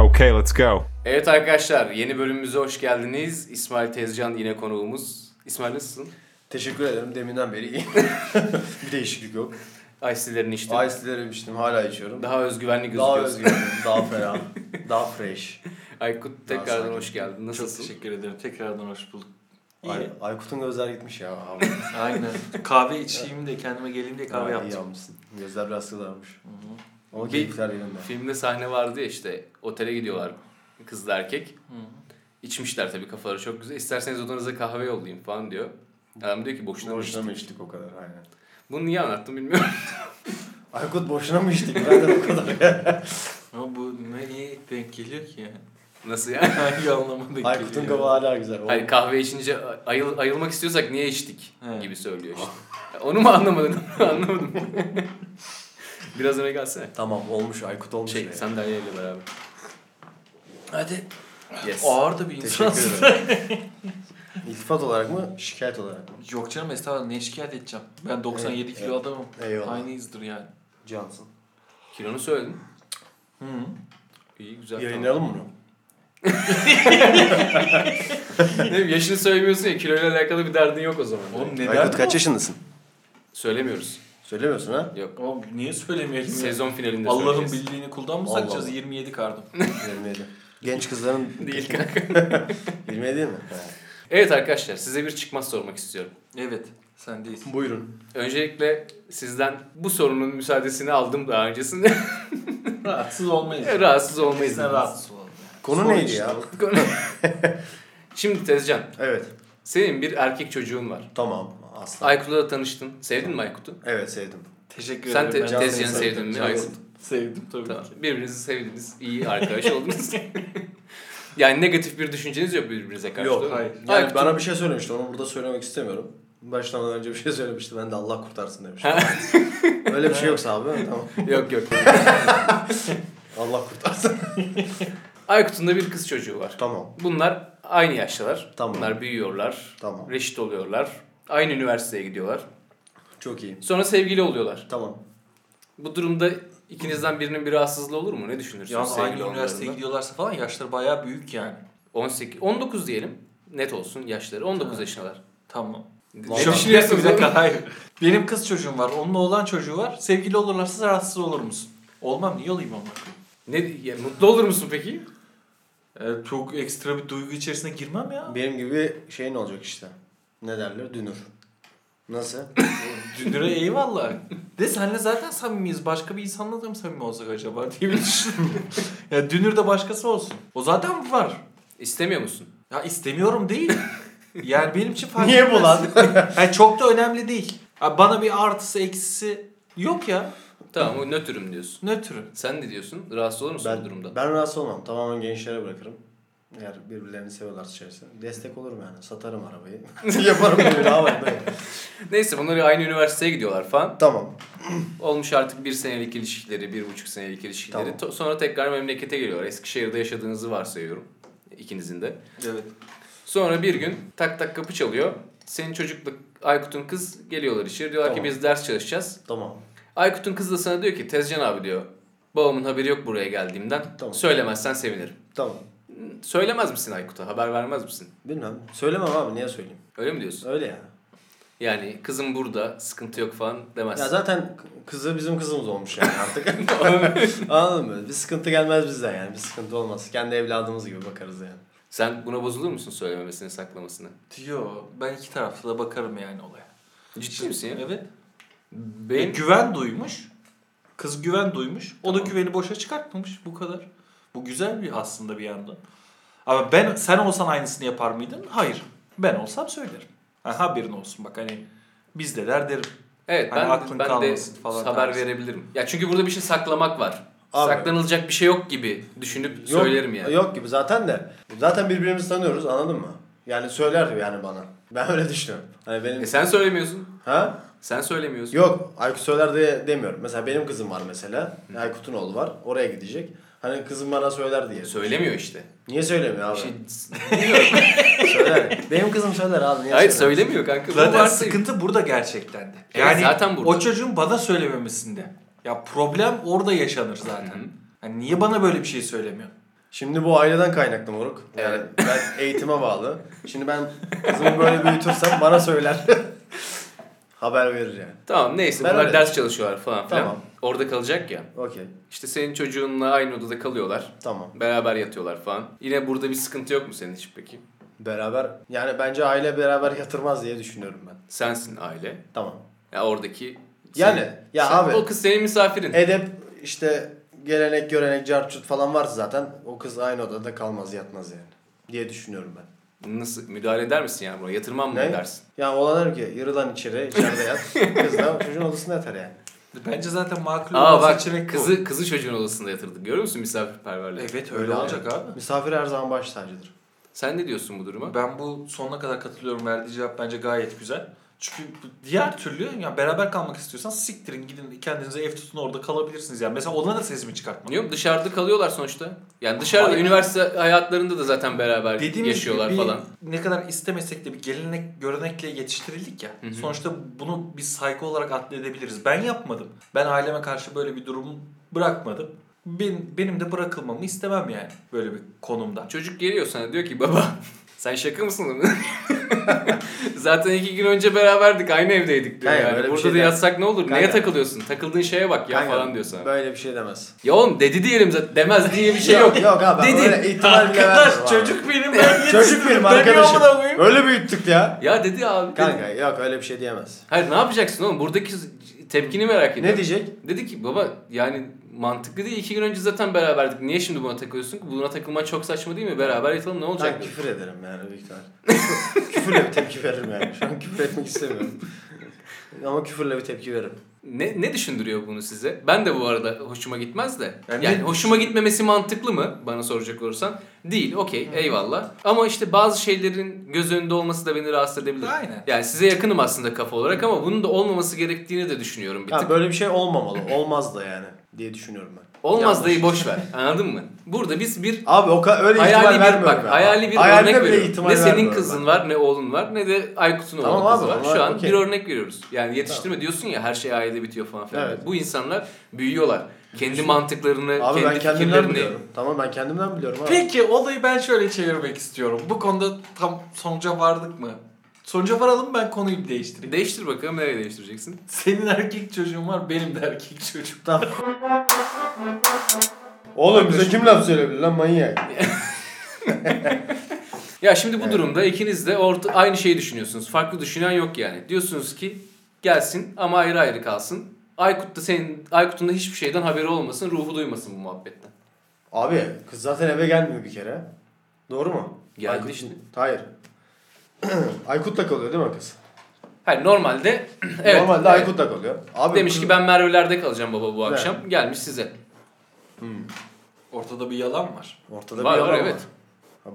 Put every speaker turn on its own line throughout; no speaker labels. Okay, let's go.
Evet arkadaşlar yeni bölümümüze hoş geldiniz. İsmail Tezcan yine konuğumuz. İsmail nasılsın?
Teşekkür ederim. Deminden beri iyi. bir değişiklik yok.
Ice'lilerini içtin.
Ice'liler içtim. Hala içiyorum.
Daha özgüvenli gözüküyorsun.
Daha özgür, daha ferah, daha fresh.
Aykut tekrardan
sakin.
hoş geldin.
Çok
Nasılsın?
teşekkür ederim. Tekrardan hoş bulduk. İyi.
Ay- Aykut'un gözler gitmiş ya. Abi.
Aynen. kahve içeyim de kendime geleyim diye kahve
Ay,
yaptım.
İyi yapmışsın. Gözler biraz kızarmış.
Hı-hı.
Ama
Bir-
keyifler yerinde.
Filmde sahne vardı ya işte otele gidiyorlar kızla erkek.
Hı.
İçmişler tabii kafaları çok güzel. İsterseniz odanıza kahve yollayayım falan diyor. Adam diyor ki boşuna mı
Boşuna
içtin?
mı içtik o kadar? Aynen.
Bunu niye anlattım bilmiyorum.
Aykut boşuna mı içtik? Ben de o kadar.
Ama bu ne iyi denk geliyor ki yani.
Nasıl yani?
Hangi anlamda
Aykut'un
geliyor?
kafa hala güzel. O-
Hani kahve içince ayıl, ayılmak istiyorsak niye içtik
He.
gibi söylüyor işte. Ya Onu mu anlamadın? Anlamadım. Biraz öne gelsene.
Tamam olmuş Aykut olmuş.
Şey
be.
sandalyeyle beraber.
Hadi.
Yes.
Ağır da bir insan.
Teşekkür ederim. İltifat olarak mı? Şikayet olarak mı?
Yok canım estağfurullah ne şikayet edeceğim. Ben 97
Evet,
kilo
evet.
adamım.
Eyvallah.
Aynıyızdır yani.
Cansın.
Kilonu söyledin.
Hı -hı.
İyi güzel. Tamam.
Yayınlayalım bunu.
Ne bileyim, yaşını söylemiyorsun ya kiloyla alakalı bir derdin yok o zaman.
Oğlum ne
Aykut
derdin?
kaç yaşındasın?
Söylemiyoruz.
Söylemiyorsun ha?
Yok.
Oğlum niye söylemeyelim ya?
Sezon finalinde
Allah'ın
söyleyeceğiz.
bildiğini kuldan mı
Allah
sakacağız?
Allah.
27 kardım.
Bilmedi. Genç kızların...
Değil kanka.
Bilmedi değil mi? Ha.
Evet arkadaşlar size bir çıkmaz sormak istiyorum.
evet. Sendeyiz.
Buyurun.
Öncelikle sizden bu sorunun müsaadesini aldım daha öncesinde.
Rahatsız olmayız.
Rahatsız olmayız.
Sen rahatsız ol.
Konu
Sorun
neydi
işte
ya?
o.
Şimdi Tezcan
Evet.
Senin bir erkek çocuğun var.
Tamam. Aslan.
Aykut'la da tanıştın. Sevdin mi Aykut'u?
Evet sevdim.
Teşekkür
Sen
ederim.
te-
ben-
Tezcan'ı
ben-
sevdin mi
ben-
Aykut?
Sevdim tabii
Tamam.
ki.
Birbirinizi sevdiniz. iyi arkadaş oldunuz. yani negatif bir düşünceniz yok birbirinize karşı.
Yok,
değil mi?
hayır.
Yani
Aykut'un-
bana bir şey söylemişti. Onu burada söylemek istemiyorum. Başlamadan önce bir şey söylemişti. Ben de Allah kurtarsın demiştim. Öyle bir şey yoksa abi. Tamam.
Yok yok.
Allah kurtarsın.
Aykut'un da bir kız çocuğu var.
tamam.
Bunlar aynı yaştalar.
Tamam.
Bunlar büyüyorlar.
Tamam.
Reşit oluyorlar. Aynı üniversiteye gidiyorlar.
Çok iyi.
Sonra sevgili oluyorlar.
Tamam.
Bu durumda ikinizden birinin bir rahatsızlığı olur mu? Ne düşünürsünüz
Yalnız
sevgili
aynı üniversiteye
olmalarında?
gidiyorlarsa falan yaşları bayağı büyük yani.
18, 19 diyelim. Net olsun yaşları. 19
Ha.
yaşındalar.
Tamam.
Ne
Şu-
düşünüyorsunuz?
Bir dakika hayır. Benim kız çocuğum var, onun oğlan çocuğu var. Sevgili olurlarsa rahatsız olur musun? Olmam, niye olayım ama?
Ne ya, mutlu olur musun peki?
Ee, çok ekstra bir duygu içerisine girmem ya.
Benim gibi şeyin olacak işte. Ne derler? Dünür. Nasıl?
Dünür'e eyvallah. De senle zaten samimiyiz. Başka bir insanla da mı samimi olsak acaba diye bir düşündüm. ya Dünür de başkası olsun. O zaten var.
İstemiyor musun?
Ya istemiyorum değil. Yani benim için fark
Niye bu
etmez.
lan?
Yani çok da önemli değil. Ya bana bir artısı eksisi yok ya.
Tamam o nötrüm diyorsun.
Nötrü.
Sen ne diyorsun? Rahatsız olur musun bu durumda?
ben, ben rahatsız olmam. Tamamen gençlere bırakırım. Eğer birbirlerini seviyorlarsa içerisinde. Destek olurum yani. Satarım arabayı. Yaparım böyle. Ne var böyle?
Neyse bunlar aynı üniversiteye gidiyorlar falan.
Tamam.
Olmuş artık bir senelik ilişkileri, bir buçuk senelik ilişkileri.
Tamam.
To- Sonra tekrar memlekete geliyorlar. Eskişehir'de yaşadığınızı varsayıyorum. ikinizin de.
Evet.
Sonra bir gün tak tak kapı çalıyor. Senin çocukla Aykut'un kız geliyorlar içeri. Diyorlar ki
Tamam.
biz ders çalışacağız.
Tamam.
Aykut'un kızı da sana diyor ki Tezcan abi diyor. Babamın haberi yok buraya geldiğimden.
Tamam.
Söylemezsen sevinirim.
Tamam.
Söylemez misin Aykut'a? Haber vermez misin?
Bilmem. Söylemem abi. Niye söyleyeyim?
Öyle mi diyorsun?
Öyle ya.
Yani kızım burada, sıkıntı yok falan demezsin.
Ya zaten k- kızı bizim kızımız olmuş yani artık. Anladın mı? Bir sıkıntı gelmez bizden yani. Bir sıkıntı olmaz. Kendi evladımız gibi bakarız yani.
Sen buna bozulur musun söylememesini, saklamasını?
Yo ben iki taraflı da bakarım yani olaya.
Ciddi misin ya?
Evet.
Benim...
E, güven duymuş. Kız güven duymuş. O da
Tamam.
güveni boşa çıkartmamış. Bu kadar. Bu güzel bir aslında bir yandan. Ama ben sen olsan aynısını yapar mıydın? Hayır. Ben olsam söylerim. Yani haberin olsun bak hani biz de der derim.
Evet
Hani
ben,
aklın
ben de
kalmasın falan
haber
tarzı.
verebilirim. Ya çünkü burada bir şey saklamak var.
Abi.
Saklanılacak bir şey yok gibi düşünüp
Yok-
söylerim yani.
Yok gibi zaten de. Zaten birbirimizi tanıyoruz anladın mı? Yani söyler yani bana. Ben öyle düşünüyorum. Hani benim...
E sen söylemiyorsun.
ha?
Sen söylemiyorsun.
Yok Aykut söyler diye demiyorum. Mesela benim kızım var mesela. Aykut'un oğlu var. Oraya gidecek. Hani kızım bana söyler diye.
Söylemiyor işte.
Niye söylemiyor abi?
Şey,
Söyler. Benim kızım söyler abi. Niye
hayır
söylemiyor?
söylemiyor kanka. Bu
Zaten
varsayım.
sıkıntı burada gerçekten de.
Evet,
Yani
zaten burada.
o çocuğun bana söylememesinde. Ya problem orada yaşanır zaten.
Hı hı.
Hani niye bana böyle bir şey söylemiyor?
Şimdi bu aileden kaynaklı moruk. Yani
Evet.
ben eğitime bağlı. Şimdi ben kızımı böyle büyütürsem bana söyler. Haber verir yani.
Tamam neyse
Ben
bunlar
öyle-
ders çalışıyorlar falan filan.
Tamam.
Orada kalacak ya.
Okey.
İşte senin çocuğunla aynı odada kalıyorlar.
Tamam.
Beraber yatıyorlar falan. Yine burada bir sıkıntı yok mu senin için peki?
Beraber yani bence aile beraber yatırmaz diye düşünüyorum ben.
Sensin aile. Ya
Tamam.
oradaki
Yani
senin-
ya
sen-
abi
o kız senin misafirin.
edep işte gelenek görenek carçut falan varsa zaten o kız aynı odada kalmaz yatmaz yani diye düşünüyorum ben.
Nasıl müdahale eder misin yani buna? Yatırmam mı
Ne?
dersin?
Yani olan der ki yırılan içeri içeride yat. kız da çocuğun odasında yatar yani.
Bence zaten makul
Aa
olan
bak
seçenek bu.
kızı kızı çocuğun odasında yatırdık. Görüyor musun misafirperverliği?
Evet öyle olacak abi.
Misafir her zaman baş tacıdır.
Sen ne diyorsun bu duruma?
Ben bu sonuna kadar katılıyorum. Verdiği cevap bence gayet güzel. Çünkü bu diğer türlü ya beraber kalmak istiyorsan siktirin gidin kendinize ev tutun orada kalabilirsiniz. Yani mesela onlara da sesimi çıkartma.
Yok dışarıda kalıyorlar sonuçta. Yani dışarıda
Hayır.
üniversite hayatlarında da zaten beraber
Dediğimiz
yaşıyorlar
gibi bir-
falan.
Ne kadar istemesek de bir gelenek görenekle yetiştirildik ya.
Hı hı.
Sonuçta bunu bir saygı olarak atledebiliriz. Ben yapmadım. Ben aileme karşı böyle bir durum bırakmadım. Ben, benim de bırakılmamı istemem yani böyle bir konumda.
Çocuk geliyor sana diyor ki baba sen şaka mısın? Zaten iki gün önce beraberdik aynı evdeydik diyor
Hayır,
yani.
öyle bir
Burada
şey
da
de-
yatsak ne olur? Neye
Kanka.
takılıyorsun? Takıldığın şeye bak ya
Kanka,
falan diyor sana.
Böyle bir şey demez.
Ya oğlum dedi diyelim zaten demez diye bir şey yok.
Yok abi ben
Dedi.
öyle ihtimal bile vermiyorum abi.
benim ben
Çocuk benim arkadaşım. Öyle büyüttük ya.
ya dedi abi. dedi.
Kanka yok öyle bir şey diyemez.
Hayır ne yapacaksın oğlum? Buradaki tepkini merak ediyorum.
Ne diyecek?
Dedi ki baba yani mantıklı değil. iki gün önce zaten beraberdik. Niye şimdi buna takılıyorsun? ki? Buna takılman çok saçma değil mi? Beraber yatalım ne olacak?
Ben küfür ederim yani büyük ihtimal. küfürle bir tepki veririm yani. Şu an küfür etmek istemiyorum. Ama küfürle bir tepki veririm.
Ne, ne düşündürüyor bunu size? Ben de bu arada hoşuma gitmez de.
Yani
Yani,
ne-
hoşuma gitmemesi mantıklı mı bana soracak olursan? Değil okey eyvallah. Ama işte bazı şeylerin göz önünde olması da beni rahatsız edebilir.
Aynen.
Yani size yakınım aslında kafa olarak ama bunun da olmaması gerektiğini de düşünüyorum bir
Ha,
tık.
böyle bir şey olmamalı. Olmaz da yani diye düşünüyorum ben.
Olmaz
Yanlış.
dayı boş ver anladın mı? Burada biz bir
Abi o kadar öyle ihtimal
hayali
vermiyorum
bir bak
ben.
hayali bir
Hayaline
örnek
bile
veriyorum.
ihtimal
Ne senin
vermiyorum
kızın
ben.
var ne oğlun var ne de Aykut'un
Tamam
oğlu kızı
abi,
var.
onlar
Şu an
okey.
bir örnek veriyoruz. Yani yetiştirme diyorsun ya her şey ailede bitiyor falan filan.
Evet.
Bu insanlar büyüyorlar. Kendi mantıklarını,
Abi ben
kendi
kendimden
fikirlerini.
biliyorum. Tamam ben kendimden biliyorum abi.
Peki olayı ben şöyle çevirmek istiyorum. Bu konuda tam sonuca vardık mı? Sonuca varalım ben konuyu bir değiştireyim.
Değiştir bakalım nereye değiştireceksin?
Senin erkek çocuğun var, benim de erkek çocuğum.
Tamam. Oğlum bize kim laf söyleyebilir lan manyak.
Ya şimdi bu
Evet.
durumda ikiniz de orta, aynı şeyi düşünüyorsunuz. Farklı düşünen yok yani. Diyorsunuz ki gelsin ama ayrı ayrı kalsın. Aykut da senin Aykut'un da hiçbir şeyden haberi olmasın, ruhu duymasın bu muhabbetten.
Abi kız zaten eve gelmiyor bir kere. Doğru mu?
Geldi
Aykut-
şimdi.
Hayır. Aykut'la kalıyor değil mi kız?
Hayır normalde evet.
Normalde
evet.
Aykut'la kalıyor. Abi
Demiş
kız-
ki ben Merve'lerde kalacağım baba bu
Evet.
akşam. Gelmiş size.
Ortada bir yalan var.
Ortada
Var,
bir yalan
var,
var.
evet.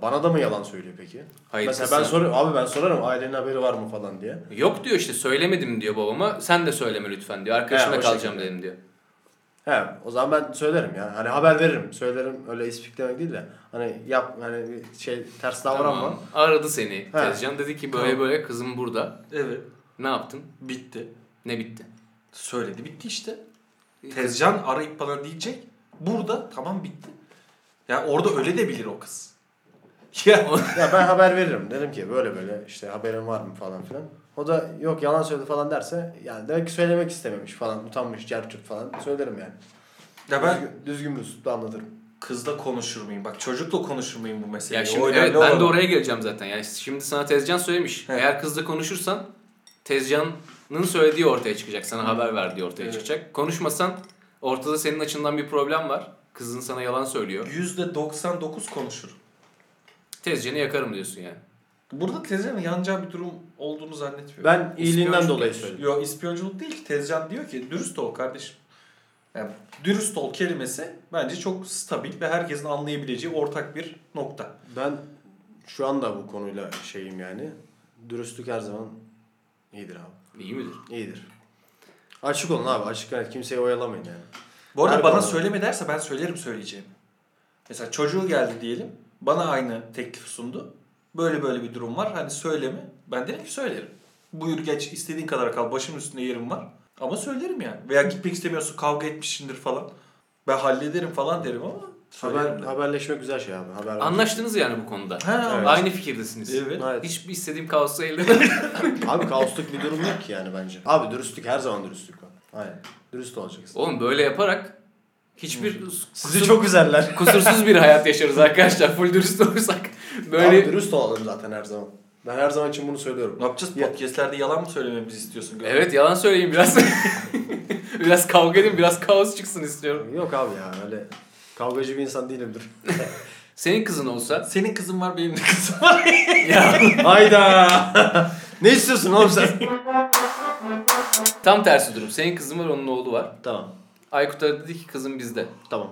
Bana da mı yalan söylüyor peki?
Hayır,
Mesela
kız
ben
sen-
soruyorum abi ben sorarım ailenin haberi var mı falan diye.
Yok diyor işte söylemedim diyor babama. Sen de söyleme lütfen diyor. Arkadaşımla
He, o
kalacağım
şekilde.
dedim diyor.
He o zaman ben söylerim ya. Hani haber veririm. Söylerim öyle ispiklemek değil de. Hani yap hani bir şey ters davranma.
Tamam. Aradı seni.
He.
Tezcan dedi ki böyle
Tamam.
böyle kızım burada.
Evet.
Ne yaptın?
Bitti.
Ne bitti?
Söyledi bitti işte. Tezcan arayıp bana diyecek. Burada tamam bitti. Ya orada öyle de bilir o kız. Ya
Ya ben haber veririm. Derim ki böyle böyle işte haberin var mı falan filan. O da yok yalan söyledi falan derse yani demek ki söylemek istememiş falan utanmış cerçut falan söylerim yani.
ya ben
Düzgün, düzgün bir üslupla anlatırım.
kızla konuşur muyum? Bak çocukla konuşur muyum bu meseleyi?
Ya şimdi
O
evet
önemli
ben
olan
de
o.
oraya geleceğim zaten. Yani şimdi sana Tezcan söylemiş.
He.
Eğer kızla konuşursan Tezcan'ın söylediği ortaya çıkacak. Sana haber verdiği ortaya
Evet.
çıkacak. Konuşmasan ortada senin açından bir problem var. Kızın sana yalan söylüyor.
%99 konuşur.
Tezcan'ı yakarım diyorsun yani.
Burada Tezcan'ın yanacağı bir durum olduğunu zannetmiyorum.
Ben iyiliğinden
İspiyonculuk
dolayı
yapmış.
söylerim.
Yo ispiyonculuk değil ki. Tezcan diyor ki dürüst ol kardeşim. Yani dürüst ol kelimesi bence çok stabil ve herkesin anlayabileceği ortak bir nokta.
Ben şu anda bu konuyla şeyim yani. Dürüstlük her zaman iyidir abi.
İyi midir?
İyidir. Açık olun abi açık olun. Kimseyi oyalamayın yani.
Bu arada
Her
bana
konuda.
söyleme derse ben söylerim söyleyeceğimi. Mesela çocuğu geldi diyelim. Bana aynı teklif sundu. Böyle böyle bir durum var. Hani söyleme. Ben derim ki söylerim. Buyur geç istediğin kadar kal. Başımın üstünde yerim var. Ama söylerim yani. Veya gitmek istemiyorsun kavga etmişsindir falan. Ben hallederim falan derim ama
Haber,
Söylerim de.
haberleşme güzel şey abi. Haber
Anlaştınız yani bu konuda.
Ha,
Evet.
Aynı fikirdesiniz.
Evet.
Evet.
Hiçbir istediğim kaosu elde
Abi kaosluk bir durum yok ki yani bence. Abi dürüstlük her zaman dürüstlük var. Aynen. Dürüst olacaksın.
Oğlum böyle yaparak hiçbir
Sizi çok üzerler.
kusursuz bir hayat yaşarız arkadaşlar. Full dürüst olursak
Abi
böyle
dürüst olalım zaten her zaman. Ben her zaman için bunu söylüyorum.
Ne yapacağız?
Ya-
Podcast'lerde yalan mı söylememizi istiyorsun? Gökhan?
Evet yalan söyleyeyim biraz. biraz kavga edeyim, biraz kaos çıksın istiyorum.
Yok abi ya öyle kavgacı bir insan değilimdir.
Senin kızın olsa
Senin kızın var, benim de kızım var.
ya
Hayda. ne istiyorsun oğlum sen?
tam tersi durum. Senin kızın var, onun oğlu var.
tamam.
Aykut'a dedi ki kızım bizde.
Tamam.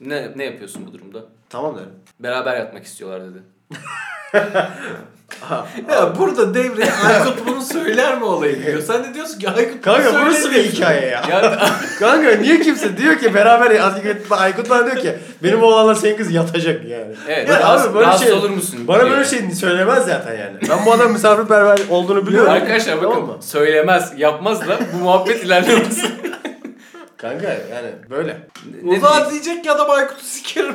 Ne ne yapıyorsun bu durumda?
Tamam derim.
Beraber yatmak istiyorlar dedi.
Aha.
ya burada devreye Aykut bunu söyler mi olayı diyor. Sen de diyorsun ki Aykut bunu
Kanka bu nasıl bir
söylemiyorsun.
hikaye ya?
Ya
Kanka niye kimse diyor ki beraber Aykut, Aykut bana diyor ki benim oğlanla senin kız yatacak yani.
evet.
Ya
rahatsız,
abi böyle
rahatsız
şey-
olur musun?
Bana
diyor.
böyle şey söylemez zaten yani. Ben bu adam misafirperver olduğunu biliyorum.
Arkadaşlar bakın
Tamam mı?
söylemez, yapmaz da bu muhabbet ilerlemez.
Kanka yani böyle.
Ne-
O
ne
zaman
diyeyim?
diyecek ya da Aykut'u sikerim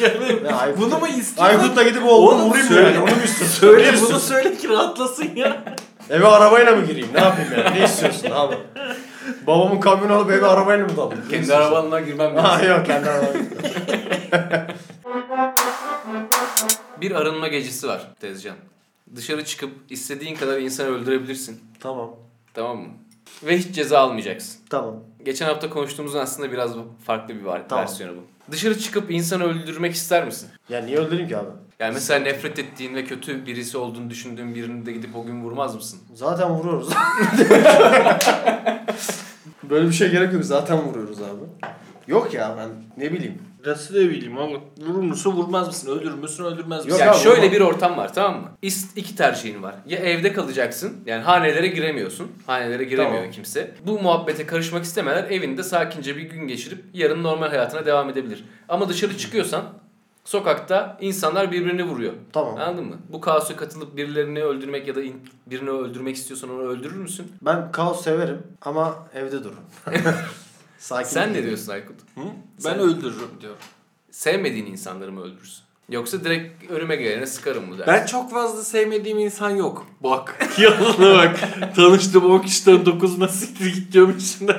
yani.
Ya Aykut-
bunu mu istiyorsun?
Aykut'la gidip oğlunu vurayım mı yani. Onu mu istiyorsun? Ne
Söyle bunu
istiyorsun?
söyle ki rahatlasın ya.
Eve arabayla mı gireyim? Ne yapayım yani? Ne istiyorsun abi? Babamın kamyonu alıp eve arabayla mı dalayım? Ne
Kendi
istiyorsun?
arabanla girmem
Aa
lazım.
yok kendi arabayla.
Bir arınma gecesi var Tezcan. Dışarı çıkıp istediğin kadar insanı öldürebilirsin.
tamam.
Tamam mı? Ve hiç ceza almayacaksın.
Tamam.
Geçen hafta konuştuğumuzun aslında biraz farklı bir var-
Tamam.
versiyonu bu. Dışarı çıkıp insanı öldürmek ister misin?
Ya niye öldüreyim ki abi?
Yani mesela nefret ettiğin ve kötü birisi olduğunu düşündüğün birini de gidip o gün vurmaz mısın?
Zaten vuruyoruz. Böyle bir şey gerek yok. Zaten vuruyoruz abi. Yok ya ben ne bileyim.
Nasıl ne bileyim oğlum. Vurur musun vurmaz mısın? Öldürür müsün öldürmez
Yok
yani
abi,
şöyle
olmaz.
bir ortam var tamam mı? İst, iki tercihin var. Ya evde kalacaksın. Yani hanelere giremiyorsun. Hanelere giremiyor
Tamam.
kimse. Bu muhabbete karışmak istemeler evinde sakince bir gün geçirip yarın normal hayatına devam edebilir. Ama dışarı çıkıyorsan sokakta insanlar birbirini vuruyor.
Tamam.
Anladın mı? Bu kaosa katılıp birilerini öldürmek ya da in- birini öldürmek istiyorsan onu öldürür müsün?
Ben kaos severim ama evde dururum. Sakin.
Sen ne diyorsun Aykut?
Ben öldürürüm diyor.
Sevmediğin insanları mı öldürürsün? Yoksa direkt önüme gelene sıkarım mı dersin?
Ben çok fazla sevmediğim insan yok. Bak. Yalana bak. Tanıştığım 10 kişiden 9'una siktir git diyorum içinden.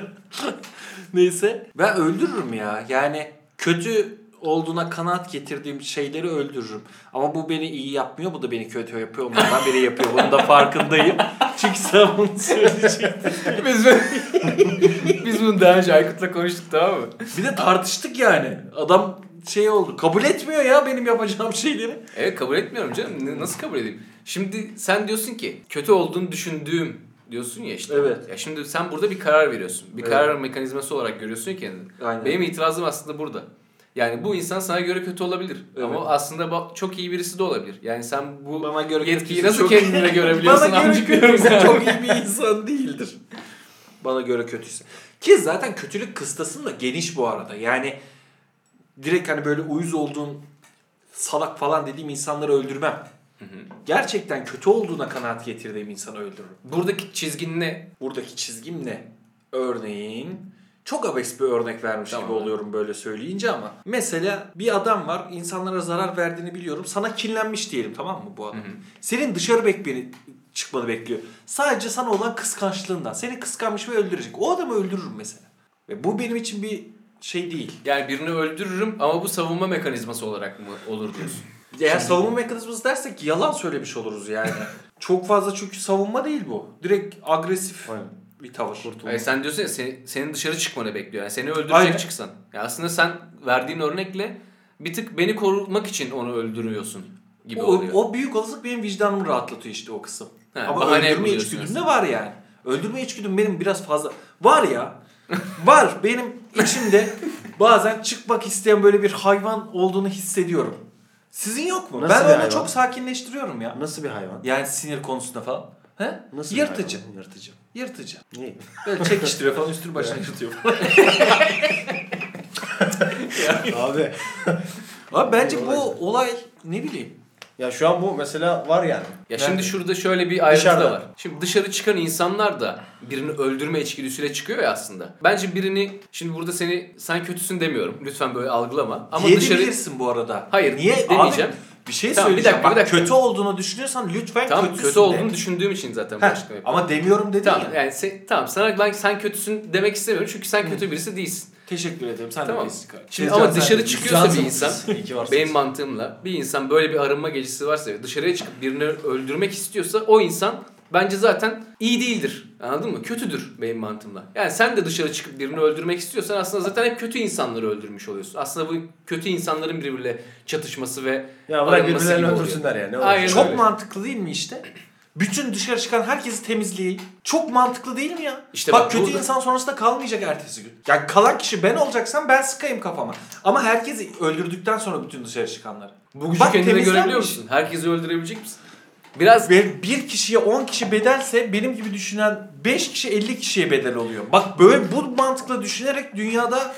Neyse. Ben öldürürüm ya. Yani kötü olduğuna kanaat getirdiğim şeyleri öldürürüm. Ama bu beni iyi yapmıyor. Bu da beni kötü yapıyor. Onlardan biri yapıyor. Bunun da farkındayım. Çünkü sen bunu söyleyecektin.
Biz, biz bunu daha önce Aykut'la konuştuk tamam mı?
Bir de tartıştık yani. Adam şey oldu. Kabul etmiyor ya benim yapacağım şeyleri.
Evet kabul etmiyorum canım. Ne- Nasıl kabul edeyim? Şimdi sen diyorsun ki kötü olduğunu düşündüğüm diyorsun ya işte.
Evet.
Ya şimdi sen burada bir karar veriyorsun. Bir
Evet.
karar mekanizması olarak görüyorsun ya kendini.
Aynen.
Benim itirazım aslında burada. Yani bu insan sana göre kötü olabilir.
Evet.
Ama aslında ba- çok iyi birisi de olabilir. Yani sen bu
Bana göre
yetkiyi
kötüsü
nasıl
çok-
kendine görebiliyorsun?
Bana göre
amcık diyorum
kötüyse
sana.
çok iyi bir insan değildir. Bana göre kötüyse. Ki zaten kötülük kıstasın da geniş bu arada. Yani direkt hani böyle uyuz olduğum salak falan dediğim insanları öldürmem. Gerçekten kötü olduğuna kanaat getirdiğim insanı öldürürüm.
Buradaki çizgin ne?
Buradaki çizgim ne? Örneğin çok abes bir örnek vermiş
Tamam.
gibi oluyorum böyle söyleyince ama mesela bir adam var insanlara zarar verdiğini biliyorum sana kinlenmiş diyelim tamam mı bu adam?
Hı hı.
Senin dışarı bekbeni çıkmanı bekliyor. Sadece sana olan kıskançlığından. Seni kıskanmış ve öldürecek. O adamı öldürürüm mesela. Ve bu benim için bir şey değil.
Yani birini öldürürüm ama bu savunma mekanizması olarak mı olur diyorsun?
Eğer savunma mekanizması dersek yalan söylemiş oluruz yani. Çok fazla çünkü savunma değil bu. Direkt agresif
Aynen.
bir tavır.
Hayır, sen diyorsun ya seni- senin dışarı çıkmanı bekliyor. Yani seni öldürecek
Aynen.
çıksan. Ya aslında sen verdiğin örnekle bir tık beni korumak için onu öldürüyorsun gibi
o,
oluyor.
o büyük olasılık benim vicdanımı rahatlatıyor işte o kısım.
Ha,
Ama
bahane
öldürme
buluyorsun
içgüdüm de var yani. Öldürme içgüdüm benim biraz fazla. Var ya. var. Benim içimde bazen çıkmak isteyen böyle bir hayvan olduğunu hissediyorum. Sizin yok mu?
Nasıl bir
ben onu
hayvan?
çok sakinleştiriyorum ya.
Nasıl bir hayvan?
Yani sinir konusunda falan. He?
Nasıl
yırtıcı.
Bir hayvan? Yırtıcı.
Yırtıcı.
Niye?
Böyle çekiştiriyor falan üstünü başına yırtıyor falan.
Abi.
Abi bence
Bir
bu
olay.
olay ne bileyim
Ya şu an bu mesela var yani.
Ya
Nerede?
şimdi şurada şöyle bir ayrıntı
Dışarıda.
da var. Şimdi dışarı çıkan insanlar da birini öldürme içgüdüsüyle çıkıyor ya aslında. Bence birini şimdi burada seni sen kötüsün demiyorum. Lütfen böyle algılama. Ama dışarı
Diyebilirsin bu arada.
Hayır,
Niye?
demeyeceğim.
Abi, bir şey
Tamam, bir
söyleyeceğim.
dakika, bir
Bak,
dakika.
kötü olduğunu düşünüyorsan lütfen
tam
kötüsün
kötü olduğunu
de.
düşündüğüm için zaten
Heh,
başlıkla yapıyorum.
Ama demiyorum dedin
Tamam
ya.
yani sen, tamam sana ben sen kötüsün demek istemiyorum çünkü sen kötü birisi değilsin.
Teşekkür ederim. Sen
Tamam.
de iyisin kardeşim.
Şimdi
Tezcan,
ama
sen
dışarı
de
çıkıyorsa
iyisin.
bir insan,
İyi ki varsın.
Benim mantığımla bir insan böyle bir arınma gecesi varsa ve dışarıya çıkıp birini öldürmek istiyorsa o insan bence zaten iyi değildir. Anladın mı? Kötüdür benim mantığımla. Yani sen de dışarı çıkıp birini öldürmek istiyorsan aslında zaten hep kötü insanları öldürmüş oluyorsun. Aslında bu kötü insanların birbiriyle çatışması ve
Ya bırak
Arınması
birbirlerini
gibi oluyor.
öldürsünler yani. Ne
Aynen
olacak?
Çok
öyle.
mantıklı değil mi işte? Bütün dışarı çıkan herkesi temizleyin. Çok mantıklı değil mi ya?
İşte
bak,
bak
kötü
burada-
insan sonrasında kalmayacak ertesi gün. Yani kalan kişi ben olacaksam ben sıkayım kafama. Ama herkesi öldürdükten sonra bütün dışarı çıkanları.
bu gücü
Bak,
kendine
temizlenmiş.
görebiliyor musun? Herkesi öldürebilecek misin? Biraz
Ve bir kişiye 10 kişi bedelse benim gibi düşünen 5 kişi 50 kişiye bedel oluyor. Bak böyle bu mantıkla düşünerek dünyada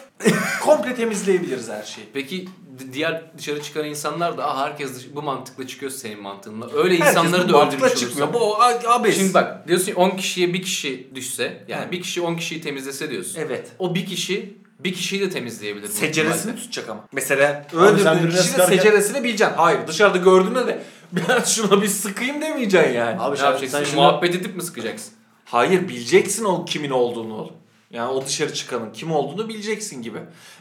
komple temizleyebiliriz her şeyi.
Peki di- diğer dışarı çıkan insanlar da "Aa, herkes dış- bu mantıkla çıkıyor senin mantığınla. Öyle insanları
Herkes bu
da
mantıkla
öldürmüş
çıkmıyor.
olursan.
Bu o- a- abes.
Şimdi bak diyorsun ki 10 kişiye bir kişi düşse yani
Hı.
bir kişi 10 kişiyi temizlese diyorsun.
Evet.
O bir kişi bir kişiyi de temizleyebilir. bu
Seceresini
ihtimalle.
tutacak ama. Mesela
sen
öldürdüğün
birine
kişinin
sıkarken-
seceresini bileceksin. Hayır dışarıda gördüğünde de ben şuna bir sıkayım demeyeceksin yani.
Abi
Ne
sen,
yapacaksın?
sen şimdi
Muhabbet edip mi sıkacaksın?
Hayır bileceksin o kimin olduğunu oğlum. Yani o dışarı çıkanın kim olduğunu bileceksin gibi.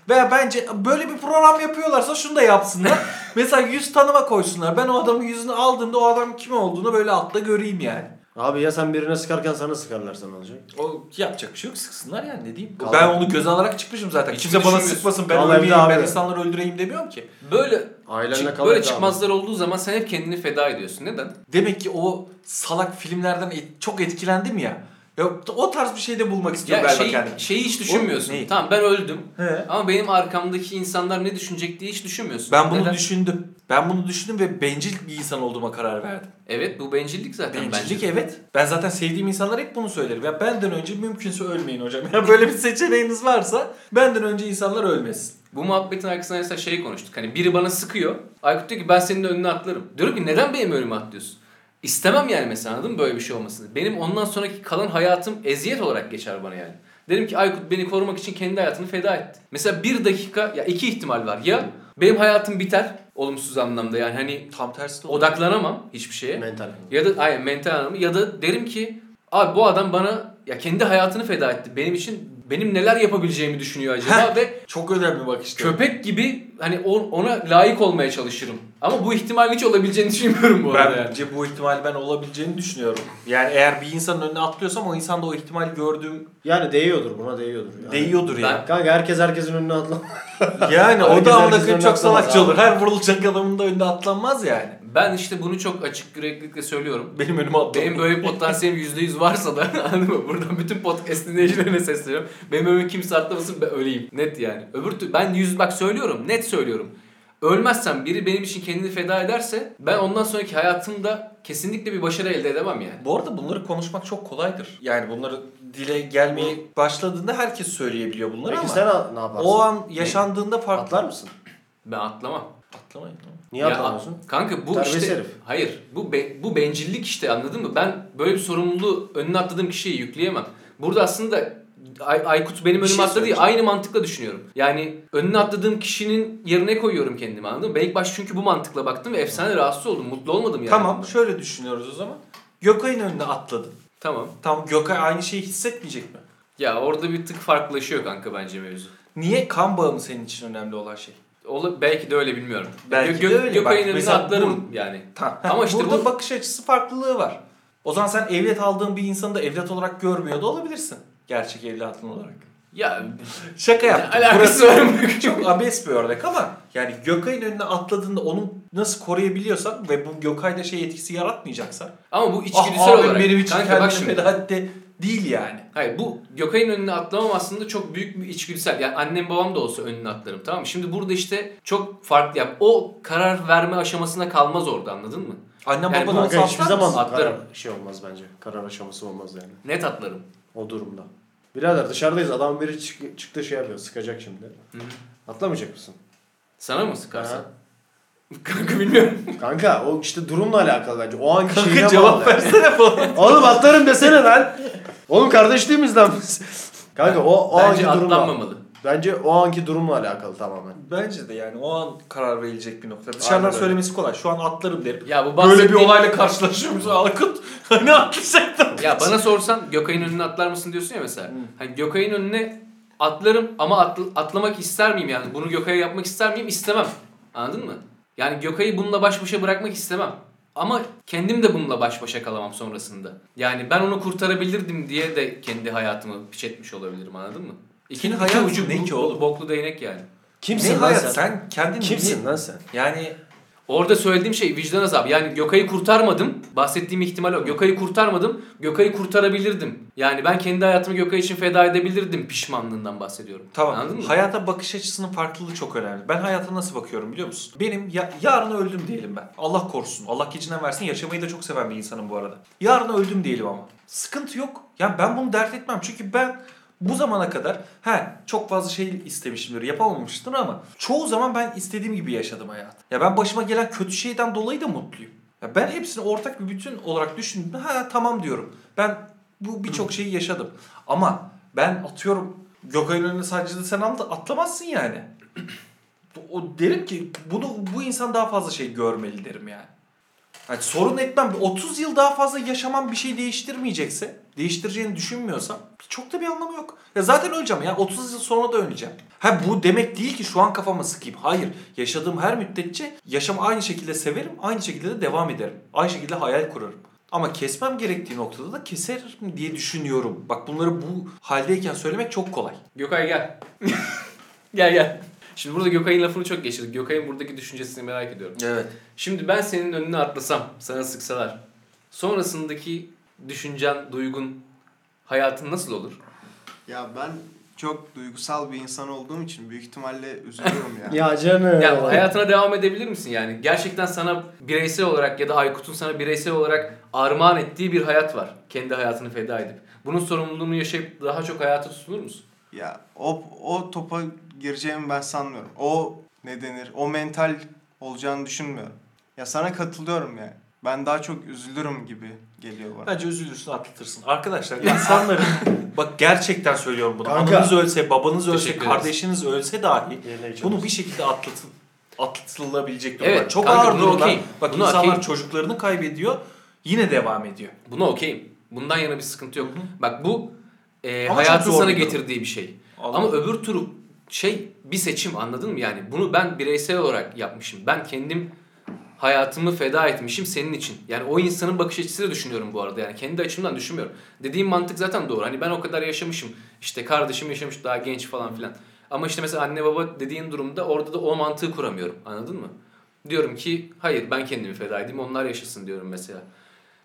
Veya bence böyle bir program yapıyorlarsa şunu da yapsınlar. Mesela yüz tanıma koysunlar. Ben o adamın yüzünü aldığımda o adam kim olduğunu böyle altta göreyim yani.
Abi ya sen birine sıkarken sana sıkarlarsa ne olacak?
O yapacak bir şey yok sıksınlar yani ne diyeyim.
Kaldı.
Ben onu göze alarak çıkmışım zaten.
Hiç
Kimse bana
düşünmüyorsun.
sıkmasın ben
Kaldı evde
ölmeyeyim ben
abi.
insanları öldüreyim demiyorum ki.
Böyle
Ailenle
çık-
kal.
böyle
evde abi.
çıkmazlar olduğu zaman sen hep kendini feda ediyorsun. Neden?
Demek ki o salak filmlerden et- çok etkilendim ya. ya. O tarz bir şey de bulmak istiyorum
Ya
galiba
şeyi,
kendime.
şeyi hiç düşünmüyorsun.
neyi?
Tamam ben öldüm.
He.
Ama benim arkamdaki insanlar ne düşünecek diye hiç düşünmüyorsun.
Ben bunu
Neden?
düşündüm. Ben bunu düşündüm ve bencil bir insan olduğuma karar verdim.
Evet bu bencillik zaten
Bencillik
bence.
evet. Ben zaten sevdiğim insanlar hep bunu söylerim. Ya benden önce mümkünse ölmeyin hocam. Ya böyle bir seçeneğiniz varsa benden önce insanlar ölmesin.
Bu muhabbetin arkasında mesela şey konuştuk. Hani biri bana sıkıyor. Aykut diyor ki ben senin önüne atlarım. Diyorum ki neden benim önüme atlıyorsun? İstemem yani mesela anladın mı böyle bir şey olmasını. Benim ondan sonraki kalan hayatım eziyet olarak geçer bana yani. Derim ki Aykut beni korumak için kendi hayatını feda etti. Mesela bir dakika ya iki ihtimal var. Ya benim hayatım biter olumsuz anlamda yani hani
Tam tersi de olur.
odaklanamam hiçbir şeye.
Mental.
Ya da aynen mental anlamı ya da derim ki abi bu adam bana ya kendi hayatını feda etti. Benim için benim neler yapabileceğimi düşünüyor acaba ve
Çok önemli bak işte.
köpek gibi hani on- ona layık olmaya çalışırım. Ama bu ihtimal hiç olabileceğini düşünmüyorum bu arada. yani.
Bence bu ihtimal ben olabileceğini düşünüyorum. Yani eğer bir insanın önüne atlıyorsam o insan da o ihtimal gördüğüm
Yani değiyordur buna değiyordur. Yani.
değiyordur yani.
Kanka herkes herkesin önüne atla.
Yani o
Herkes
da amına
herkesin
koyayım
önüne
çok
atlamaz
salakça
abi.
olur. Her vurulacak adamın da önüne atlanmaz yani.
Ben işte bunu çok açık yüreklilikle söylüyorum.
Benim önüme atlamaz.
Benim böyle bir potansiyelim %100 varsa da anladın mı? Buradan bütün podcast dinleyicilerine sesleniyorum. Benim önüme kimse atlamasın ben öleyim. Net yani. Öbür tür- ben yüz bak söylüyorum. Net söylüyorum. Ölmezsem biri benim için kendini feda ederse ben ondan sonraki hayatımda kesinlikle bir başarı elde edemem yani.
Bu arada bunları konuşmak çok kolaydır. Yani bunları dile gelmeye başladığında herkes söyleyebiliyor bunları
Peki
ama
sen a- ne yaparsın?
o an yaşandığında farklı.
Atlar mısın?
Ben atlamam.
Atlamayın. tamam.
Niye
Ya,
atlamıyorsun?
Kanka bu
Terbiyesiz
işte
herif.
hayır bu be- bu bencillik işte anladın mı? Ben böyle bir sorumluluğu önüne atladığım kişiye yükleyemem. Burada aslında Ay- Aykut benim
Bir
önüme
şey
atladı ya aynı mantıkla düşünüyorum. Yani önüne atladığım kişinin yerine koyuyorum kendimi anladın mı? Ben ilk baş çünkü bu mantıkla baktım ve efsane rahatsız oldum. Mutlu olmadım yani.
Tamam şöyle düşünüyoruz o zaman. Gökay'ın önüne atladın.
Tamam.
Tamam Gökay aynı şeyi hissetmeyecek mi?
Ya orada bir tık farklılaşıyor kanka bence mevzu.
Niye kan bağı mı senin için önemli olan şey?
Ola, belki de öyle bilmiyorum.
Belki de öyle. Bak,
Gökay'ın önüne
mesela
atlarım yani.
Tamam.
Ama işte
Burada
bu-
bakış açısı farklılığı var. O zaman sen evlat aldığın bir insanı da evlat olarak görmüyor da olabilirsin. Gerçek evlatın olarak.
Ya
Şaka Şey yaptım.
alakası var mı?
çok abes bir örnek ama yani Gökay'ın önüne atladığında onu nasıl koruyabiliyorsan ve bu Gökay'da şey etkisi yaratmayacaksa
Ama bu
ah
içgüdüsel
abim
olarak.
benim için
kanka bak
kendini
şimdi.
feda etti değil yani.
Hayır bu Gökay'ın önüne atlamam aslında çok büyük bir içgüdüsel. Yani annem babam da olsa önüne atlarım tamam mı? Şimdi burada işte çok farklı yap. O karar verme aşamasına kalmaz orada anladın mı?
Annem
Yani
baban
bu-
olsa
Kanka
atlar
hiçbir zaman
mısın?
Atlarım.
karar şey olmaz bence. Karar aşaması olmaz yani.
Net atlarım.
O durumda. Birader dışarıdayız. Adam biri çık- çıktı şey yapıyor. Sıkacak şimdi.
Hı.
Atlamayacak mısın?
Sana mı sıkarsan?
Ha.
Kanka bilmiyorum.
Kanka o işte durumla alakalı bence. O anki şeyine
Kanka
bağlı.
cevap versene falan.
Oğlum atlarım desene lan. Oğlum kardeş değil miyiz lan biz? Kanka o, o
Bence
anki durumla.
atlanmamalı.
Bence o anki durumla alakalı tamamen.
Bence de yani o an karar verilecek bir nokta.
Aynen
Dışarıdan
öyle.
söylemesi kolay. Şu an atlarım derim.
Ya bu
Böyle bir
bahsettiğim-
olayla karşılaşıyoruz Akut. Hani atlayacaktım.
Ya bana sorsan Gökay'ın önüne atlar mısın diyorsun ya mesela.
Hı.
Hani Gökay'ın önüne atlarım ama atl- atlamak ister miyim yani? Bunu Gökay'a yapmak ister miyim? İstemem. Anladın mı? Yani Gökay'ı bununla baş başa bırakmak istemem. Ama kendim de bununla baş başa kalamam sonrasında. Yani ben onu kurtarabilirdim diye de kendi hayatımı piç etmiş olabilirim anladın mı? İki,
Senin
hayat
hayatın
ucu
ne
bu-
ki oğlum?
Boklu değnek yani.
Ne
Kimsin lan
hayat
sen?
sen? Kendin
Kimsin lan sen?
Yani
Orada söylediğim şey vicdan azabı. Yani Gökay'ı kurtarmadım. Bahsettiğim ihtimal o. Gökay'ı kurtarmadım. Gökay'ı kurtarabilirdim. Yani ben kendi hayatımı Gökay için feda edebilirdim pişmanlığından bahsediyorum.
Tamam.
Anladın mı?
Hayata bakış açısının farklılığı çok önemli. Ben hayata nasıl bakıyorum biliyor musun? Benim ya- yarın öldüm diyelim ben. Allah korusun. Allah gecinden versin. Yaşamayı da çok seven bir insanım bu arada. Yarın öldüm diyelim ama. Sıkıntı yok. Ya ben bunu dert etmem. Çünkü ben bu zamana kadar he çok fazla şey istemişimdir, yapamamıştır ama çoğu zaman ben istediğim gibi yaşadım hayatı. Ya ben başıma gelen kötü şeyden dolayı da mutluyum. Ya ben hepsini ortak bir bütün olarak düşündüm. Ha tamam diyorum. Ben bu birçok şeyi yaşadım. Ama ben atıyorum Gökay'ın önüne sancıda sen atla- atlamazsın yani. o derim ki bunu bu insan daha fazla şey görmeli derim yani. Hani sorun etmem. 30 yıl daha fazla yaşamam bir şey değiştirmeyecekse, değiştireceğini düşünmüyorsam çok da bir anlamı yok. Ya zaten öleceğim ya. 30 yıl sonra da öleceğim. Ha bu demek değil ki şu an kafama sıkayım. Hayır. Yaşadığım her müddetçe yaşamı aynı şekilde severim, aynı şekilde de devam ederim. Aynı şekilde hayal kurarım. Ama kesmem gerektiği noktada da keserim diye düşünüyorum. Bak bunları bu haldeyken söylemek çok kolay.
Gökay gel. gel gel. Şimdi burada Gökay'ın lafını çok geçirdik. Gökay'ın buradaki düşüncesini merak ediyorum.
Evet.
Şimdi ben senin önüne atlasam, sana sıksalar. Sonrasındaki düşüncen, duygun, hayatın nasıl olur?
Ya ben çok duygusal bir insan olduğum için büyük ihtimalle üzülüyorum ya.
Ya canım.
Ya hayatına devam edebilir misin yani? Gerçekten sana bireysel olarak ya da Aykut'un sana bireysel olarak armağan ettiği bir hayat var. Kendi hayatını feda edip. Bunun sorumluluğunu yaşayıp daha çok hayata tutunur musun?
Ya o, o topa gireceğimi ben sanmıyorum. O ne denir? O mental olacağını düşünmüyorum. Ya sana katılıyorum yani. Ben daha çok üzülürüm gibi geliyor bana.
Bence üzülürsün atlatırsın. Arkadaşlar insanların bak gerçekten söylüyorum bunu.
Kanka.
Ananız ölse, babanız ölse,
Teşekkür ederiz.
kardeşiniz ölse dahi
Yerine geçiyoruz.
bunu bir şekilde atlatın. Atlatılabilecek durumlar.
Evet,
Çok
kanka,
ağır
bunu
durumlar.
okeyim.
Bak
Bunu
insanlar
okeyim.
çocuklarını kaybediyor. Yine devam ediyor.
Buna okeyim. Bundan yana bir sıkıntı yok.
Hı hı.
Bak bu e,
Ama
hayatın
çok zor
sana
bir durum.
getirdiği bir şey. Ama
Ama
öbür turu şey bir seçim anladın mı yani? Bunu ben bireysel olarak yapmışım. Ben kendim hayatımı feda etmişim senin için. Yani o insanın bakış açısıyla düşünüyorum bu arada. Yani kendi açımdan düşünmüyorum. Dediğim mantık zaten doğru. Hani ben o kadar yaşamışım. İşte kardeşim yaşamış daha genç falan filan. Ama işte mesela anne baba dediğin durumda orada da o mantığı kuramıyorum. Anladın mı? Diyorum ki hayır ben kendimi feda edeyim onlar yaşasın diyorum mesela.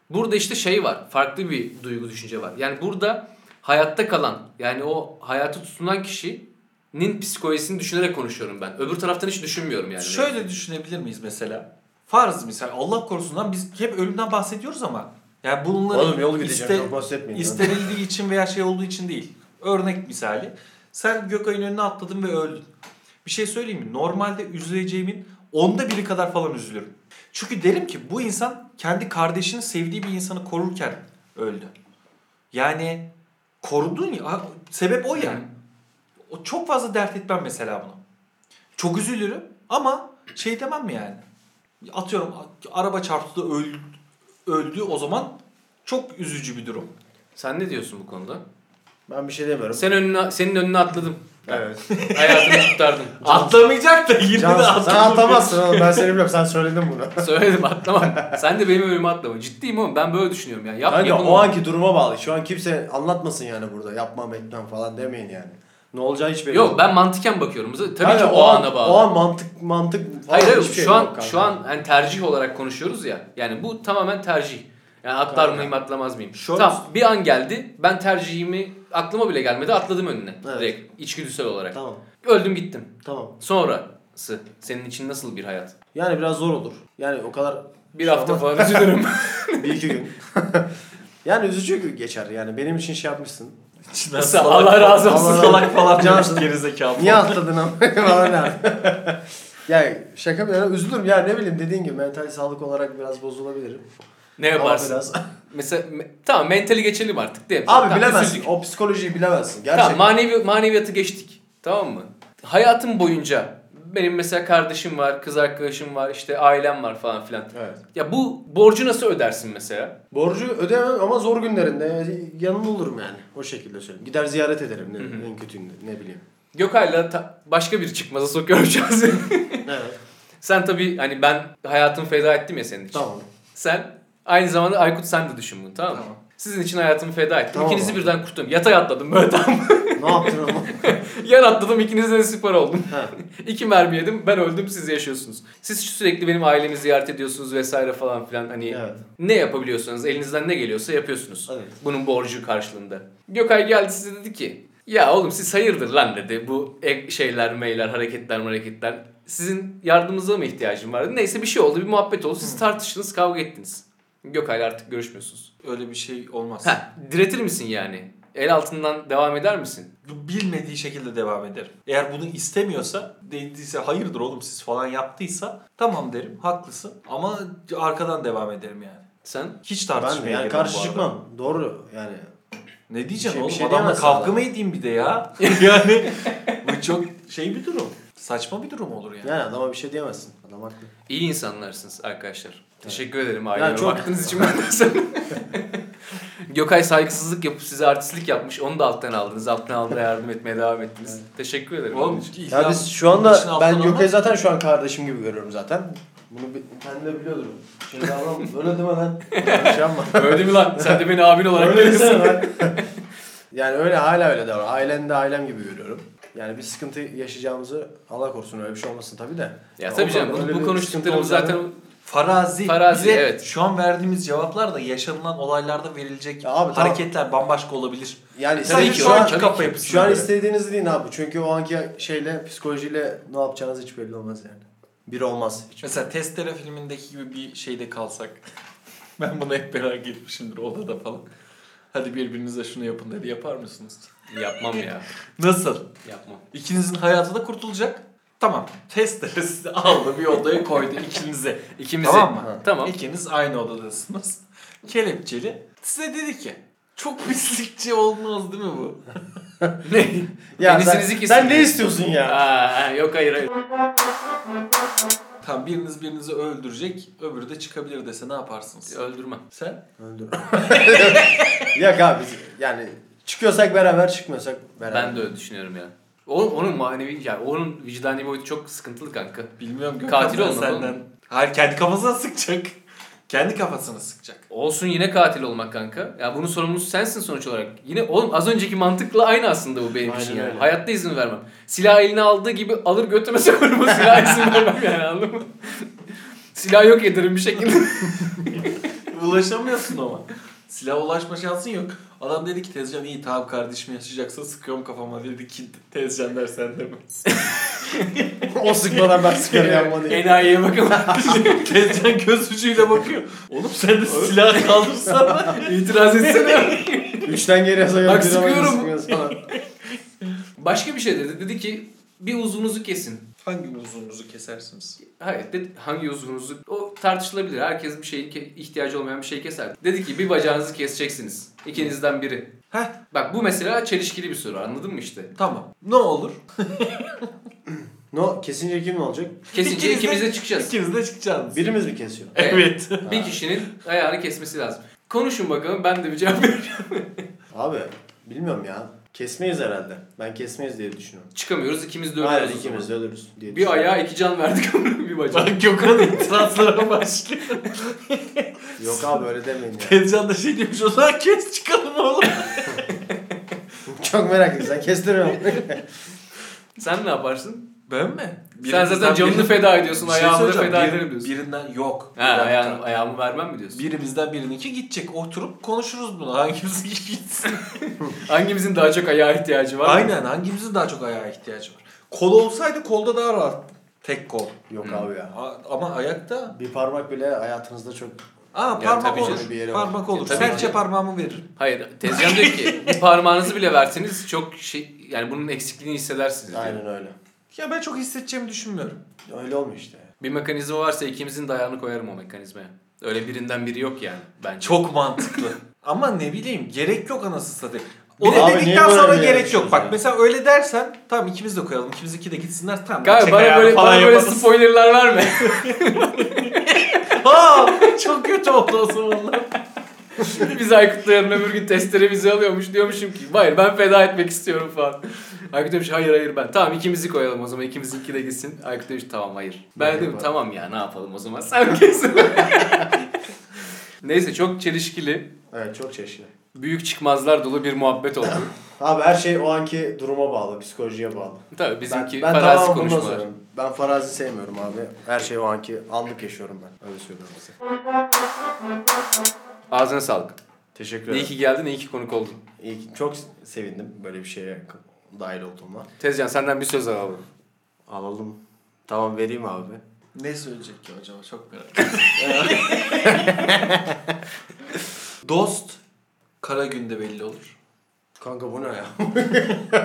Burada işte şey var. Farklı bir duygu düşünce var. Yani burada hayatta kalan yani o hayatı tutunan kişinin psikolojisini düşünerek konuşuyorum ben. Öbür taraftan hiç düşünmüyorum yani.
şöyle düşünebilir miyiz mesela? Farz misal Allah korusun lan biz hep ölümden bahsediyoruz ama yani bunları
Oğlum yol gideceğim.
iste-
Çok bahsetmeyin. lan.
İstenildiği için veya şey olduğu için değil. Örnek misali. Sen Gökay'ın önüne atladın ve öldün. Bir şey söyleyeyim mi? Normalde üzüleceğimin onda biri kadar falan üzülürüm. Çünkü derim ki bu insan kendi kardeşini sevdiği bir insanı korurken öldü. Yani korudun ya. ha, Sebep o yani. O çok fazla dert etmem mesela bunu. Çok üzülürüm ama şey demem mi yani? Atıyorum araba çarptı da öl- öldü o zaman çok üzücü bir durum.
Sen ne diyorsun bu konuda?
Ben bir şey demiyorum.
Sen önüne, senin önüne atladım.
Evet.
Hayatını kurtardım.
Atlamayacak da yine de
Can, sen
atlamayacak.
atlamazsın oğlum. Ben seni biliyorum. Sen söyledin bunu.
Söyledim atlama. Sen de benim önüme atlama. Ciddiyim oğlum ben böyle düşünüyorum yani. Yap,
Kanka
yapın
o
oğlum.
anki duruma bağlı. Şu an kimse anlatmasın yani burada. Yapmam etmem falan demeyin yani. Ne olacağı hiç belli
Yok
değil.
ben mantıken bakıyorum. Z- Tabii
Kanka,
ki o ana bağlı.
O an mantık mantık falan
hayır hayır
hiçbir şey
şu an
yok kanka.
şu an yani tercih olarak konuşuyoruz ya. Yani bu tamamen tercih. Yani atlar
Kanka.
mıyım atlamaz mıyım?
Şöyle-
Tamam bir an geldi. Ben tercihimi aklıma bile gelmedi atladım önüne.
Evet.
Direkt içgüdüsel olarak.
Tamam.
Öldüm gittim.
Tamam.
Sonrası senin için nasıl bir hayat?
Yani biraz zor olur. Yani o kadar
Bir
Şu
hafta
an-
falan üzülürüm.
bir iki gün. yani üzücü gün geçer yani. Benim için şey yapmışsın.
İçinden
Sağ-
salak-
Allah razı olsun.
Salak falan
Cansın.
Cansın. gerizekalı.
Niye atladın ama falan yani. Yani şaka bir yana üzülürüm. Ya ne bileyim dediğin gibi mental sağlık olarak biraz bozulabilirim.
Ne
Ama
yaparsın?
biraz-
Mesela me- tamam mentali geçelim artık değil mi?
Abi
Tamam,
bilemezsin.
üzüldük.
O psikolojiyi bilemezsin. Gerçekten.
Tamam manevi, maneviyatı geçtik. Tamam mı? Hayatım boyunca benim mesela kardeşim var, kız arkadaşım var, işte ailem var falan filan.
Evet.
Ya bu borcu nasıl ödersin mesela?
Borcu ödemem ama zor günlerinde yanında olurum yani. O şekilde söyleyeyim. Gider ziyaret ederim ne,
Hı hı.
en kötüğünde ne bileyim.
Gökay'la ta- başka bir çıkmaza sokuyorum şahsen.
Evet.
Sen tabii hani ben hayatımı feda ettim ya senin için.
tamam.
Sen aynı zamanda Aykut sen de düşün bunu tamam mı?
Tamam.
Sizin için hayatımı feda ettim.
Tamam
İkinizi
abi.
birden kurtuldum. Yatay atladım böyle tamam mı?
ne yaptın ama?
Yan atladım ikinize de süper oldum.
Ha.
İki mermi yedim ben öldüm siz yaşıyorsunuz. Siz sürekli benim ailemi ziyaret ediyorsunuz vesaire falan filan hani
Evet.
ne yapabiliyorsanız elinizden ne geliyorsa yapıyorsunuz.
Evet.
Bunun borcu karşılığında. Gökay geldi size dedi ki ya oğlum siz hayırdır lan dedi bu ek şeyler meyler hareketler hareketler. Sizin yardımınıza mı ihtiyacım vardı? Neyse bir şey oldu bir muhabbet oldu siz tartıştınız kavga ettiniz. Gökay'la artık görüşmüyorsunuz.
Öyle bir şey olmaz.
Ha, diretir misin yani? El altından devam eder misin?
Bu Bilmediği şekilde devam ederim. Eğer bunu istemiyorsa, dediyse hayırdır oğlum siz falan yaptıysa tamam derim haklısın ama arkadan devam ederim yani.
Sen?
Hiç
Ben de
tartışmaya
yani
girmem bu
karşı
arada.
çıkmam. Doğru yani.
Ne diyeceksin
Bir şey- bir
oğlum?
şey
Adamla
diyemezsin
kavga
adam.
mı edeyim bir de ya? yani bu çok şey bir durum. Saçma bir durum olur yani.
Yani adama bir şey diyemezsin. Adam haklı.
İyi insanlarsınız arkadaşlar. Teşekkür ederim
Ya
aileme
çok-
baktığınız için ben de sana. Gökay saygısızlık yapıp size artistlik yapmış. Onu da alttan aldınız. Alttan almaya yardım etmeye devam ettiniz. Teşekkür ederim.
Oğlum
Oğlum,
Ya
illa-
biz şu
İşin
anda
altından
ben
alma.
Gökay'ı zaten şu an kardeşim gibi görüyorum zaten. Bunu bi- ben de biliyordum. Şimdi adam öyle deme lan. Öyle şey yapma.
öyle mi lan? Sen de beni abin olarak
Öyle
görüyorsun.
desene lan. yani öyle hala öyle davran. Ailen de ailem gibi görüyorum. Yani bir sıkıntı yaşayacağımızı Allah korusun öyle bir şey olmasın tabii de.
Ya
Ondan
tabii canım
öyle
bu, bu
bir
konuştuklarımız
sıkıntı
zaten...
Farazi.
Farazi,
Bize
evet.
Şu an verdiğimiz cevaplar da yaşanılan olaylarda verilecek
Ya abi, tamam.
hareketler bambaşka olabilir.
Yani
Tabii
Sadece
ki,
şu
şu an,
anki kafa yapısına
şu an
göre.
istediğiniz değil abi. Çünkü o anki şeyle psikolojiyle ne yapacağınız hiç belli olmaz yani. Bir olmaz hiç.
Mesela Testere filmindeki gibi bir şeyde kalsak. ben buna hep merak etmişimdir odada falan. Hadi birbirinize şunu yapın dedi yapar mısınız?
Yapmam ya.
Nasıl?
Yapmam.
İkinizin hayatı da kurtulacak. Tamam. Testere sizi aldı bir odaya koydu ikinize.
İkimizi.
Tamam mı?
Tamam.
İkiniz aynı odadasınız. Kelepçeli. Size dedi ki çok pislikçi olmaz değil mi bu?
ne?
Ya sen,
Deniziniz ikisi.
sen ne istiyorsun ya?
Aa, yok hayır hayır.
Tamam biriniz birinizi öldürecek, öbürü de çıkabilir dese ne yaparsınız?
Öldürmem.
Sen?
Öldür. Yok abi yani çıkıyorsak beraber çıkmıyorsak beraber.
Ben de öyle düşünüyorum ya. O, onun manevi, yani onun vicdani boyutu çok sıkıntılı kanka.
Bilmiyorum Gökhan
Katil
ben
olmadı
Hayır kendi kafasına sıkacak. Kendi kafasına sıkacak.
Olsun yine katil olmak kanka. Ya bunun sorumlusu sensin sonuç olarak. Yine oğlum az önceki mantıkla aynı aslında bu benim
Aynen
için yani.
öyle.
Hayatta izin vermem. Silah eline aldığı gibi alır götüme sokarım o silah izin vermem yani anladın mı? silah yok ederim bir şekilde.
Ulaşamıyorsun ama. Silah ulaşma şansın yok. Adam dedi ki Tezcan iyi tamam kardeşim yaşayacaksa sıkıyorum kafama dedi ki Tezcan der sen de mi?
o sıkmadan ben sıkarım yapma diye.
Enayiye bakalım.
Tezcan göz ucuyla bakıyor. Oğlum sen de silah kaldırsana.
İtiraz etsene.
Üçten geriye sayıyorum.
Bak
bir zaman
sıkıyorum.
sıkmıyoruz falan.
Başka bir şey dedi. Dedi ki bir uzunuzu kesin.
Hangi uzunumuzu kesersiniz?
Hayır dedi hangi uzunuzu o tartışılabilir. Herkes bir şeyi ke- ihtiyacı olmayan bir şey keser. Dedi ki bir bacağınızı keseceksiniz. İkinizden biri.
Heh.
Bak bu mesela çelişkili bir soru anladın mı işte?
Tamam. Ne olur?
No kesince kim olacak?
Kesince
İkiniz de-
ikimiz de çıkacağız. E,
İkiniz de çıkacaksınız.
Birimiz mi kesiyor?
Evet.
Bir kişinin ayağını kesmesi lazım. Konuşun bakalım ben de bir cevap vereyim.
Abi bilmiyorum ya. Kesmeyiz herhalde. Ben kesmeyiz diye düşünüyorum.
Çıkamıyoruz ikimiz de
Hayır
ölüyoruz.
ikimiz de ölürüz diye
Bir
düşünüyorum.
ayağa iki can verdik ama bir bacağa.
Bak Gökhan itirazlara başlıyor.
Yok abi öyle demeyin ya.
Tezcan da şey demiş o zaman kes çıkalım oğlum.
Çok meraklıyım sen kestirme.
Sen ne yaparsın?
Ben mi?
Sen zaten canını feda ediyorsun ayağımı da feda ederim diyorsun.
şey Birinden yok.
ha,
Bir dakika.
ayağını, ayağımı vermem mi diyorsun?
Birimizden birininki gidecek. Oturup konuşuruz bunu. Hangimiz gitsin?
Hangimizin daha çok ayağa ihtiyacı var?
Aynen hangimizin daha çok ayağa ihtiyacı var? Kol olsaydı kolda daha rahat. Tek kol.
Yok abi ya.
A- Ama ayakta...
Bir parmak bile hayatınızda çok...
Aa
Yani
parmak
tabii
olur.
canım, bir yere var.
parmak olur.
Tabii
Serçe
ki.
parmağımı veririm.
Hayır tezcan diyor ki bir parmağınızı bile verseniz çok şey yani bunun eksikliğini hissedersiniz diyor.
Aynen öyle.
Ya ben çok hissedeceğimi düşünmüyorum.
Öyle olmuyor işte.
Bir mekanizma varsa ikimizin de ayağını koyarım o mekanizmaya. Öyle birinden biri yok yani bence.
Çok mantıklı. Ama ne bileyim gerek yok anasını satayım.
Bir
Onu
de- Abi
dedikten
niye
sonra
böyle
gerek
yarışıyoruz
yok. Bak
ya?
mesela öyle dersen tamam ikimiz de koyalım. İkimiz iki de gitsinler tamam.
Galiba
çek
bana
ayağını
böyle,
falan
bana böyle
yaparız.
spoilerlar verme.
Aa, çok kötü oldu o zamanlar.
Biz Aykut'la yarın öbür gün testere bizi alıyormuş. Diyormuşum ki hayır ben feda etmek istiyorum falan. Aykut demiş hayır hayır ben. Tamam ikimizi koyalım o zaman ikimizinki de gitsin. Aykut demiş tamam hayır. Ben
Ben
dedim
yaparım.
tamam ya ne yapalım o zaman sen kesin. Neyse çok çelişkili,
Evet çok çeşitli.
büyük çıkmazlar dolu bir muhabbet oldu.
Abi her şey o anki duruma bağlı, psikolojiye bağlı.
Tabii bizimki
ben, ben
farazi
tamamen bundan
konuşmalar.
sorarım. Ben farazi sevmiyorum abi. Her şey o anki anlık yaşıyorum ben. Öyle söylüyorum size.
Ağzına sağlık.
Teşekkür
İyi
ederim.
ki geldin, iyi ki konuk oldun.
İyi ki- Çok sevindim böyle bir şeye dahil olduğuma.
Tezcan senden bir söz alalım.
Alalım. Tamam vereyim abi.
Ne söyleyecek ki acaba çok merak ediyorum. Dost kara günde belli olur.
Kanka bu ne ya?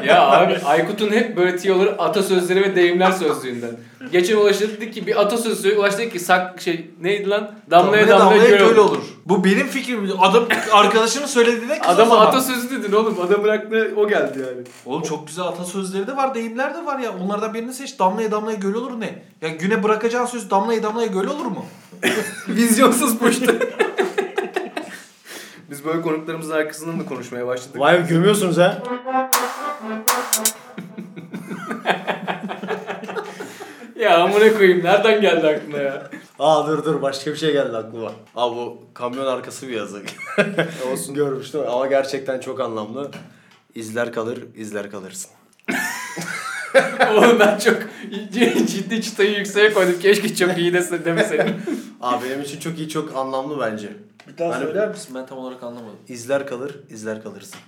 ya abi Aykut'un hep böyle tiyoları atasözleri ve deyimler sözlüğünden. Geçen Ulaş'a dedik ki bir atasözü Ulaş dedi ki sak şey neydi lan? Damlaya damlaya, göl olur.
Bu benim fikrim. Adam arkadaşımın söylediğine kız o
Adama
zaman.
atasözü dedin oğlum. Adamın aklına o geldi yani.
Oğlum çok güzel atasözleri de var, deyimler de var ya. Onlardan birini seç. Damlaya damlaya göl olur ne? Ya güne bırakacağın söz damlaya damlaya göl olur mu?
Vizyonsuz puştu. Biz böyle konuklarımızın arkasından da konuşmaya başladık.
Vay be gömüyorsunuz ha.
Ya amına koyayım nereden geldi aklına ya?
Aa dur dur başka bir şey geldi aklıma. Aa bu kamyon arkası bir yazık. Olsun. Görmüştüm ama gerçekten çok anlamlı. İzler kalır, izler kalırsın.
oğlum ben çok ciddi çıtayı yükseğe koydum. Keşke çok iyi dese demeseydin.
Aa benim için çok iyi, çok anlamlı bence.
Bir
daha söyler
misin? Ben tam olarak anlamadım.
İzler kalır, izler kalırsın.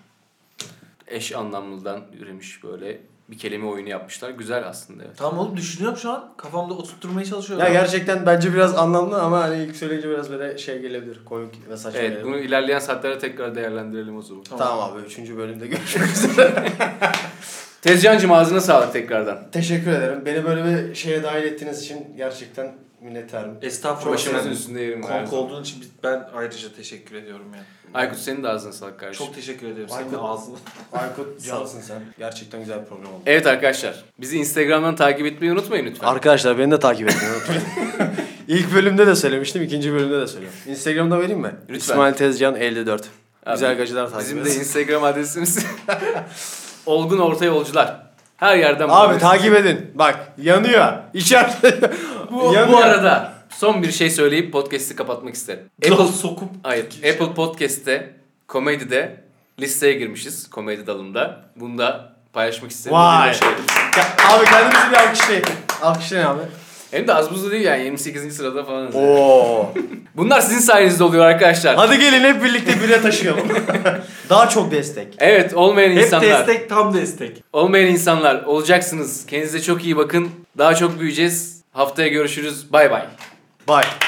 Eş anlamlıdan üremiş böyle bir kelime oyunu yapmışlar. Güzel aslında evet.
Tamam oğlum düşünüyorum şu an. Kafamda oturtmaya çalışıyorum.
Ya gerçekten bence biraz anlamlı ama hani ilk söyleyince biraz böyle şey gelebilir. Komik ve saçma
Evet
gelebilir.
bunu ilerleyen saatlerde tekrar değerlendirelim o zaman.
Tamam abi 3. bölümde görüşürüz.
Tezcan'cığım ağzına sağlık tekrardan.
Teşekkür ederim. Beni böyle bir şeye dahil ettiğiniz için gerçekten minnettarım.
Estağfurullah.
Çok
Başımızın
sevindim.
üstünde yerim var.
Konuk olduğun için biz- ben ayrıca teşekkür ediyorum ya.
Aykut senin de ağzına sağlık kardeşim.
Çok teşekkür ediyorum.
Aykut.
Senin de ağzına.
Aykut cansın sen. Gerçekten güzel bir program oldu.
Evet arkadaşlar bizi Instagram'dan takip etmeyi unutmayın lütfen.
Arkadaşlar beni de takip edin. unutmayın. İlk bölümde de söylemiştim, ikinci bölümde de söylüyorum. Instagram'da vereyim mi?
Lütfen.
İsmail Tezcan 54.
Abi,
güzel gacılar takip
Bizim
edin.
de Instagram adresimiz Olgun Orta Yolcular. Her yerden
Abi
bulabilirsiniz.
takip edin. Bak yanıyor. İçeride.
bu, bu
yanıyor.
arada son bir şey söyleyip podcast'i kapatmak isterim. Apple,
Apple sokup
hayır, Apple Podcast'te komedide listeye girmişiz komedi dalında. Bunu da paylaşmak şey. istedim.
Vay. Ya, abi kendimizi bir alkışlayın. Alkışlayın abi.
Hem de az buzlu değil yani 28. sırada falan.
Oo.
Bunlar sizin sayenizde oluyor arkadaşlar.
Hadi gelin hep birlikte bire taşıyalım. Daha çok destek.
Evet olmayan
hep
insanlar.
destek tam destek.
Olmayan insanlar olacaksınız. Kendinize çok iyi bakın. Daha çok büyüyeceğiz. Haftaya görüşürüz. Bay bay.
Bye.